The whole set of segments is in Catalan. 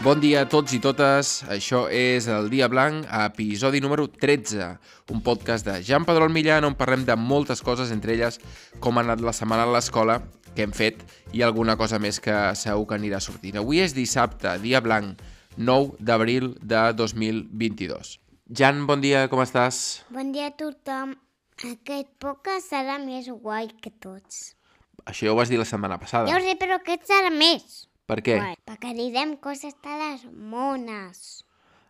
Bon dia a tots i totes. Això és el Dia Blanc, episodi número 13, un podcast de Jan Pedrol Millán on parlem de moltes coses, entre elles com ha anat la setmana a l'escola, què hem fet i alguna cosa més que segur que anirà sortint. Avui és dissabte, Dia Blanc, 9 d'abril de 2022. Jan, bon dia, com estàs? Bon dia a tothom. Aquest podcast serà més guai que tots. Això ja ho vas dir la setmana Ja ho passada. sé, però aquest serà més. Per Ah. què? Guai. Perquè direm coses de les mones.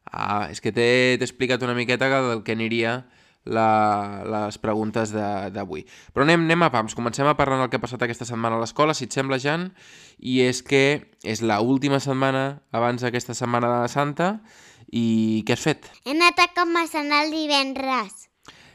Ah, és que t'he t'he explicat una miqueta que del que aniria la, les preguntes de- d'avui. Però anem, anem a pams, comencem a parlar del que ha passat aquesta setmana a l'escola, si et sembla, Jan, i és que és la última setmana abans d'aquesta setmana de Santa i què has fet? He anat a com a cenar el divendres.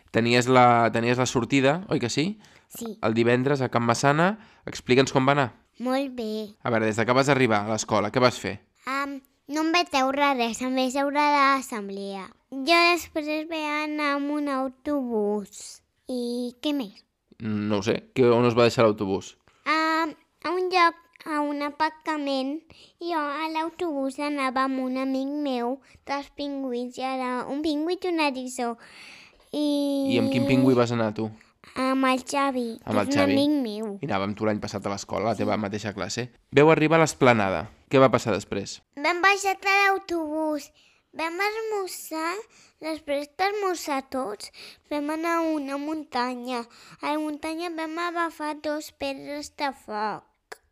Tenies la, tenies la sortida, oi que sí? Sí, El divendres a Can Massana, explica'ns com va anar. molt bé. A veure, des de que vas arribar a l'escola, què vas fer? Um, no em vaig veure res, em vaig veure a l'assemblea. Jo després vaig anar amb un autobús. I què més? No ho sé, que, on us va deixar l'autobús? A, a un lloc, a un aparcament, jo a l'autobús anava amb un amic meu dels pingüins, i era un pingüí i un eriçó. I, I amb quin pingüí vas anar, tu? Amb el Xavi, que Amb el és un Xavi. amic meu. I anava amb tu l'any passat a l'escola, a la teva mateixa classe. Veu arribar a l'esplanada. Què va passar després? Vam baixar de l'autobús, vam esmorzar, després d'esmorzar tots, vam anar a una muntanya. A la muntanya vam agafar dos pedres de foc.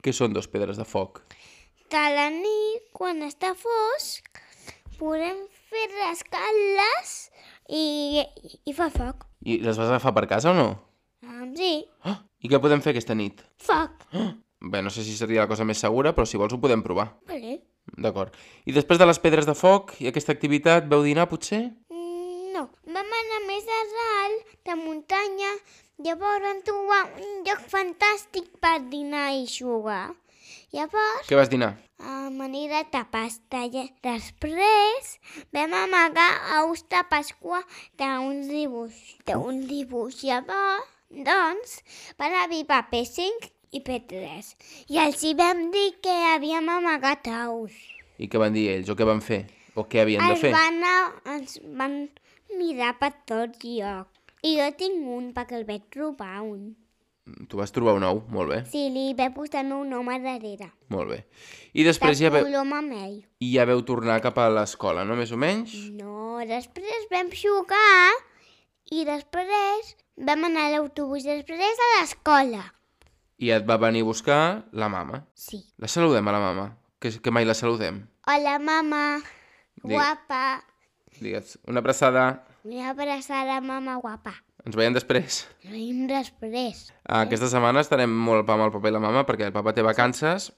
Què són dos pedres de foc? que a la nit, quan està fosc, podem fer rascar-les i, i fa foc. I les vas agafar per casa o no? Um, sí, Oh! I què podem fer aquesta nit? foc. Bé, no sé si seria la cosa més segura, però si vols ho podem provar. Vale. D'acord. I després de les pedres de foc i aquesta activitat, veu dinar, potser? Mm, no, vam anar més a dalt, de muntanya, llavors vam trobar un lloc fantàstic per dinar i jugar. Llavors Què vas dinar? amanida de pasta. I després vam amagar ous de Pasqua d'un dibuix. D'un dibuix. Llavors, doncs, van arribar P5 i P3. I els hi vam dir que havíem amagat ous. I què van dir ells? O què van fer? O què havien de Ens fer? van, a- ens van mirar per tot lloc. I jo tinc un perquè el vaig trobar un. Tu vas trobar un ou, molt bé, Sí, li vaig posar el meu nom a darrere. molt bé. I De després ja veu, color mamell. i ja veu tornar cap a l'escola, no? Més o menys? No, després vam jugar i després vam anar a l'autobús, després a l'escola. I et va venir a buscar la mama. Sí. La saludem a la mama, que, que mai la saludem. Hola, mama. Digue- Guapa. Digues, una abraçada, Una abraçada, mama guapa. ens veiem després. Ah, Ens veiem després. Aquesta setmana estarem molt amb el papa i la mama perquè el papa té vacances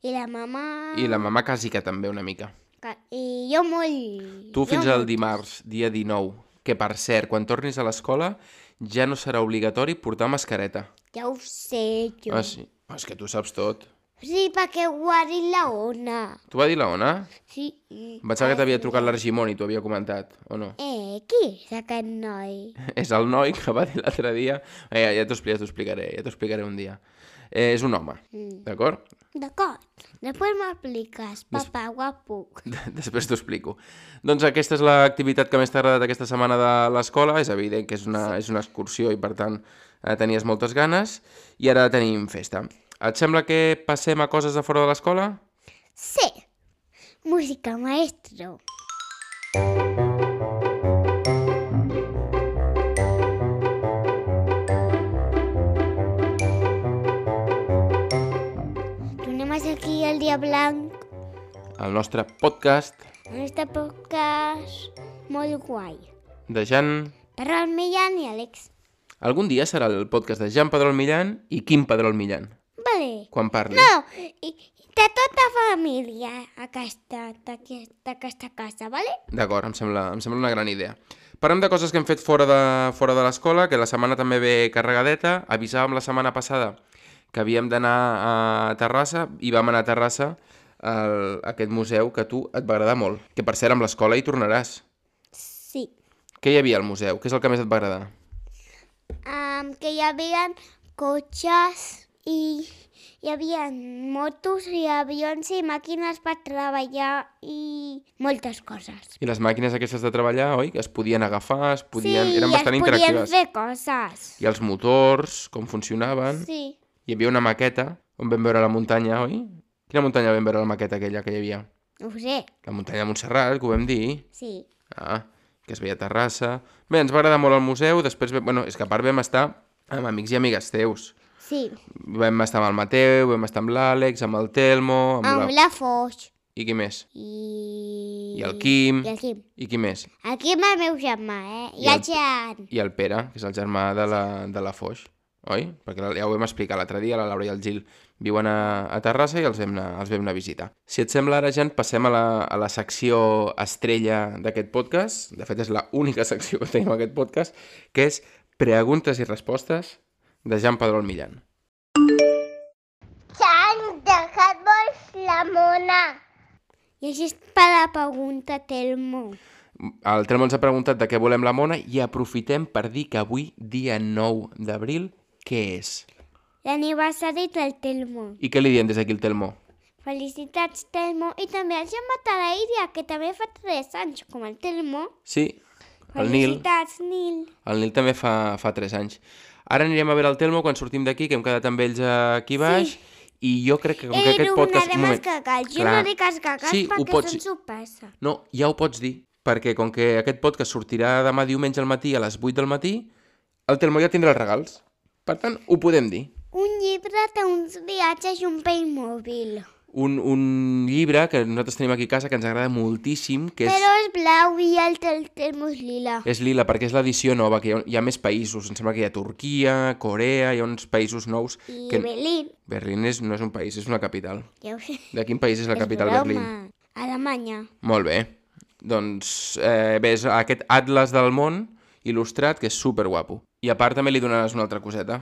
I la mama... i la mama quasi que també una mica. que- I jo molt... Tu fins jo al dimarts, dia 19, que per cert, quan tornis a l'escola ja no serà obligatori portar mascareta. molt. Ja ho sé, jo. Ah, sí? Ah, És que tu saps tot. Sí, perquè ho ha dit la Ona. T'ho va dir la Ona? Sí. Em pensava que t'havia trucat l'Argimon i t'ho havia comentat, o no? Eh, qui és aquest noi? És el noi que va dir l'altre dia... Eh, ja t'ho explicaré, t'ho explicaré, ja t'ho explicaré un dia. Eh, és un home, Mm. d'acord? D'acord. Després m'expliques, papa guapo. De- Després t'ho explico. Doncs aquesta és l'activitat que més t'ha agradat aquesta setmana de l'escola. És evident que és una, és una excursió i, per tant, eh, tenies moltes ganes. I ara tenim festa. Et sembla que passem a coses de fora de l'escola? Sí. Música, maestro. Tornem a ser aquí el dia blanc, El nostre podcast en este podcast molt guai. de Jan... Però el Millan i Àlex. Algun dia serà el podcast de Jan Pedrol Millán i Quim Pedrol Millán, Vale. quan parli. No, i, i de tota família aquesta, d'aquesta aquesta casa, vale? D'acord, em sembla, em sembla una gran idea. Parlem de coses que hem fet fora de, fora de l'escola, que la setmana també ve carregadeta. Avisàvem la setmana passada que havíem d'anar a Terrassa i vam anar a Terrassa al, a aquest museu que a tu et va agradar molt. Que per cert, amb l'escola hi tornaràs. Sí. Què hi havia al museu? Què és el que més et va agradar? um, que hi havia cotxes i hi havia motos i avions i màquines per treballar i moltes coses. I les màquines aquestes de treballar, oi? Que es podien agafar, es podien... sí, eren i bastant es podien interactives. fer coses. I els motors, com funcionaven... Sí, Hi havia una maqueta on vam veure la muntanya, oi? Quina muntanya vam veure la maqueta aquella que hi havia? ho sé, La muntanya de Montserrat, que ho vam dir. sí. Ah, que es veia a Terrassa... Bé, ens va agradar molt el museu, després... Vam... Bueno, és que a part vam estar amb amics i amigues teus. Sí, Vam estar amb el Mateu, vam estar amb l'Àlex, amb el Telmo... Amb Ah, amb la... la Foix I qui més? i... I el Quim. I el Quim. I qui més? El Quim és el meu germà, eh? I I, el- el Jan. I el Pere, que és el germà de la, de la Foix, oi? Perquè la- ja ho vam explicar l'altre dia, la Laura i el Gil viuen a, a Terrassa i els vam, anar, els vam anar a visitar. Si et sembla, ara, Jan, passem a la, a la secció estrella d'aquest podcast. De fet, és la única secció que tenim a aquest podcast, que és preguntes i respostes de Jan Pedrol Millán. S'han deixat vols la mona. I així és per la pregunta, Telmo. El Telmo ens ha preguntat de què volem la mona i aprofitem per dir que avui, dia 9 d'abril, què és? L'aniversari del Telmo. I què li diem des d'aquí el Telmo? Felicitats, Telmo. I també el Gemma Talaíria, que també fa 3 anys, com el Telmo. Sí, el Nil. Felicitats, Nil. El Nil també fa, fa 3 anys. Ara anirem a veure el Telmo quan sortim d'aquí, que hem quedat amb ells aquí baix. Sí. I jo crec que com que Ell aquest podcast... donarem els cacals. Jo Clar. no dic els cacals Sí, ho perquè pots- se'ns ho passa. No, ja ho pots dir. Perquè com que aquest podcast sortirà demà diumenge al matí a les 8 del matí, el Telmo ja tindrà els regals. Per tant, ho podem dir. Un llibre té uns viatges i un Playmobil. Un, un llibre que nosaltres tenim aquí a casa que ens agrada moltíssim, que és, Però és blau i el del termos lila. és lila, perquè és l'edició nova, que hi ha, hi ha més països. Em sembla que hi ha Turquia, Corea, hi ha uns països nous. I Que... Berlín, Berlín és, no és un país, és una capital. ja ho sé. De quin país és la capital broma. Berlín? Alemanya. Molt bé. Doncs eh, ves aquest atlas del món il·lustrat, que és superguapo. I a part també li donaràs una altra coseta.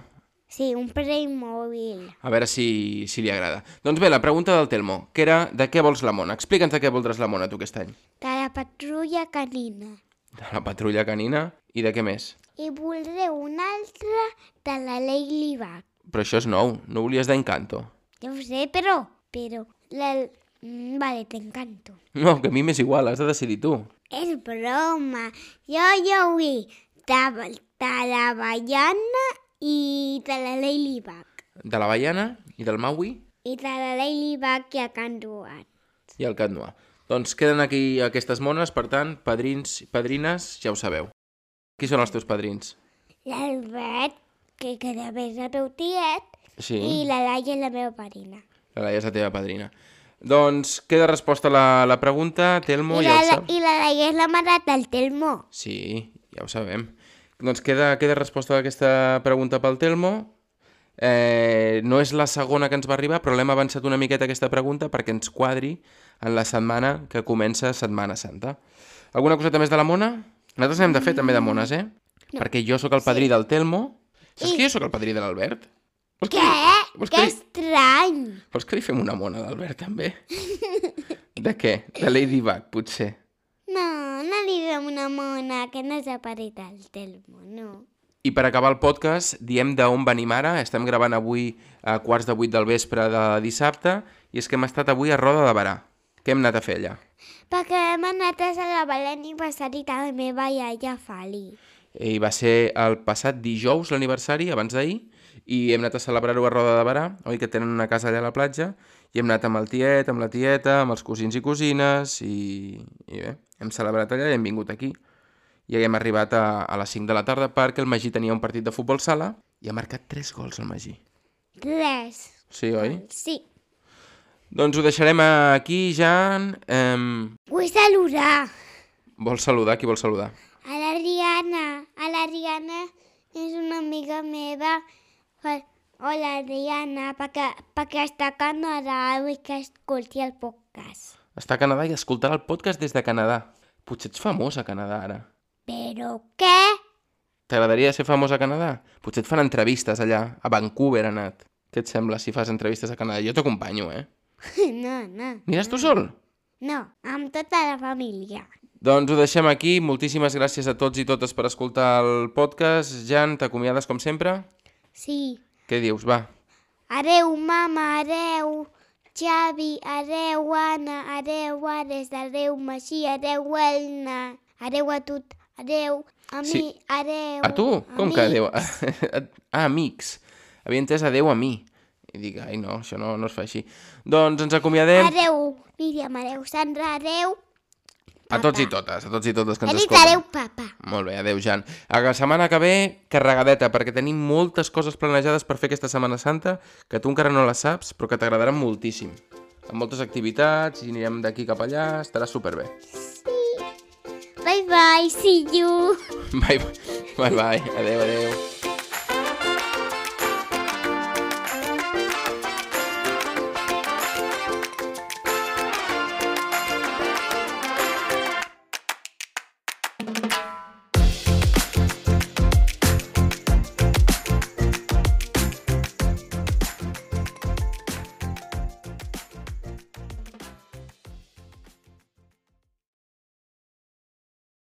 Sí, un Playmobil. A veure si, si li agrada. Doncs bé, la pregunta del Telmo, que era de què vols la mona? Explica'ns de què voldràs la mona tu aquest any. De la patrulla canina. De la patrulla canina i de què més? I voldré un altre de la Ladybug. Però això és nou, no volies d'encanto. Ja ho sé, però... Però... La... Mm, Vale, t'encanto. No, que a mi m'és igual, has de decidir tu. És broma. Jo ja ho he. De, de la Baiana i de la Ladybug. De la baiana i del Maui I de la Ladybug que ha cantuat. i el Cat Noir. Doncs queden aquí aquestes mones, per tant, padrins, padrines, ja ho sabeu. Qui són els teus padrins? L'Albert, que cada vegada és el meu tiet, Sí. i la Laia és la meva parina. La Laia és la teva padrina. Doncs queda resposta a la, la pregunta, Telmo, I ja la, ho la, saps. I la Laia és la mare del Telmo. Sí, ja ho sabem. Doncs queda, queda resposta a aquesta pregunta pel Telmo. Eh, no és la segona que ens va arribar, però l'hem avançat una miqueta aquesta pregunta perquè ens quadri en la setmana que comença Setmana Santa. Alguna coseta més de la mona? Nosaltres n'hem de fer també de mones, eh? No. Perquè jo sóc el padrí del Telmo. Saps I- que jo sóc el padrí de l'Albert? Vols que- Què? Vols Que que- estrany! Vols que li fem una mona d'Albert, també? De què? De Ladybug, potser. No, no li diguem una mona, que no és el pare del Telmo, no. I per acabar el podcast, diem d'on venim ara. Estem gravant avui a quarts de vuit del vespre de dissabte i és que hem estat avui a Roda de Barà. Què hem anat a fer allà? Perquè hem anat a celebrar l'aniversari de la meva iaia Fali. I Eh, va ser el passat dijous l'aniversari, abans d'ahir, i hem anat a celebrar-ho a Roda de Barà, oi, que tenen una casa allà a la platja, i hem anat amb el tiet, amb la tieta, amb els cosins i cosines, i, i bé, hem celebrat allà i hem vingut aquí. I hem arribat a, a les 5 de la tarda perquè el Magí tenia un partit de futbol sala i ha marcat 3 gols el Magí. Tres. Sí, oi? Sí. Doncs ho deixarem aquí, Jan. Eh, Vull saludar. vols saludar? Qui vol saludar? A la Rihanna. A la Rihanna és una amiga meva. Fa- Hola, Rihanna, perquè, perquè està a Canadà i que escolti el podcast. Està a Canadà i escoltarà el podcast des de Canadà. Potser ets famós a Canadà, ara. Però què? T'agradaria ser famós a Canadà? Potser et fan entrevistes allà, a Vancouver ha anat. Què et sembla si fas entrevistes a Canadà? Jo t'acompanyo, eh? No, no, Aniràs tu sol? no, amb tota la família. Doncs ho deixem aquí. Moltíssimes gràcies a tots i totes per escoltar el podcast. Jan, t'acomiades com sempre? Sí, Què dius? Va, Adeu, mama, adeu. Xavi, adeu, Anna, adeu, Ares, adeu, Magí, adeu, Elna. Adeu a tu, adeu. A mi, Sí. adeu. A tu? Com mi. que adeu? Ah, amics. Havia entès adeu a mi. I dic, ai no, això no, no es fa així. Doncs ens acomiadem Adeu, Míriam, adeu, Sandra, adeu. a tots i totes, a tots i totes que ens Elit, escolten. adeu, papa. Molt bé, adeu, Jan. A la setmana que ve, carregadeta, perquè tenim moltes coses planejades per fer aquesta Setmana Santa que tu encara no les saps, però que t'agradaran moltíssim. Amb moltes activitats, i anirem d'aquí cap allà, estarà superbé. Bye bye, see you. Bye, bye, bye, bye. adeu, adeu.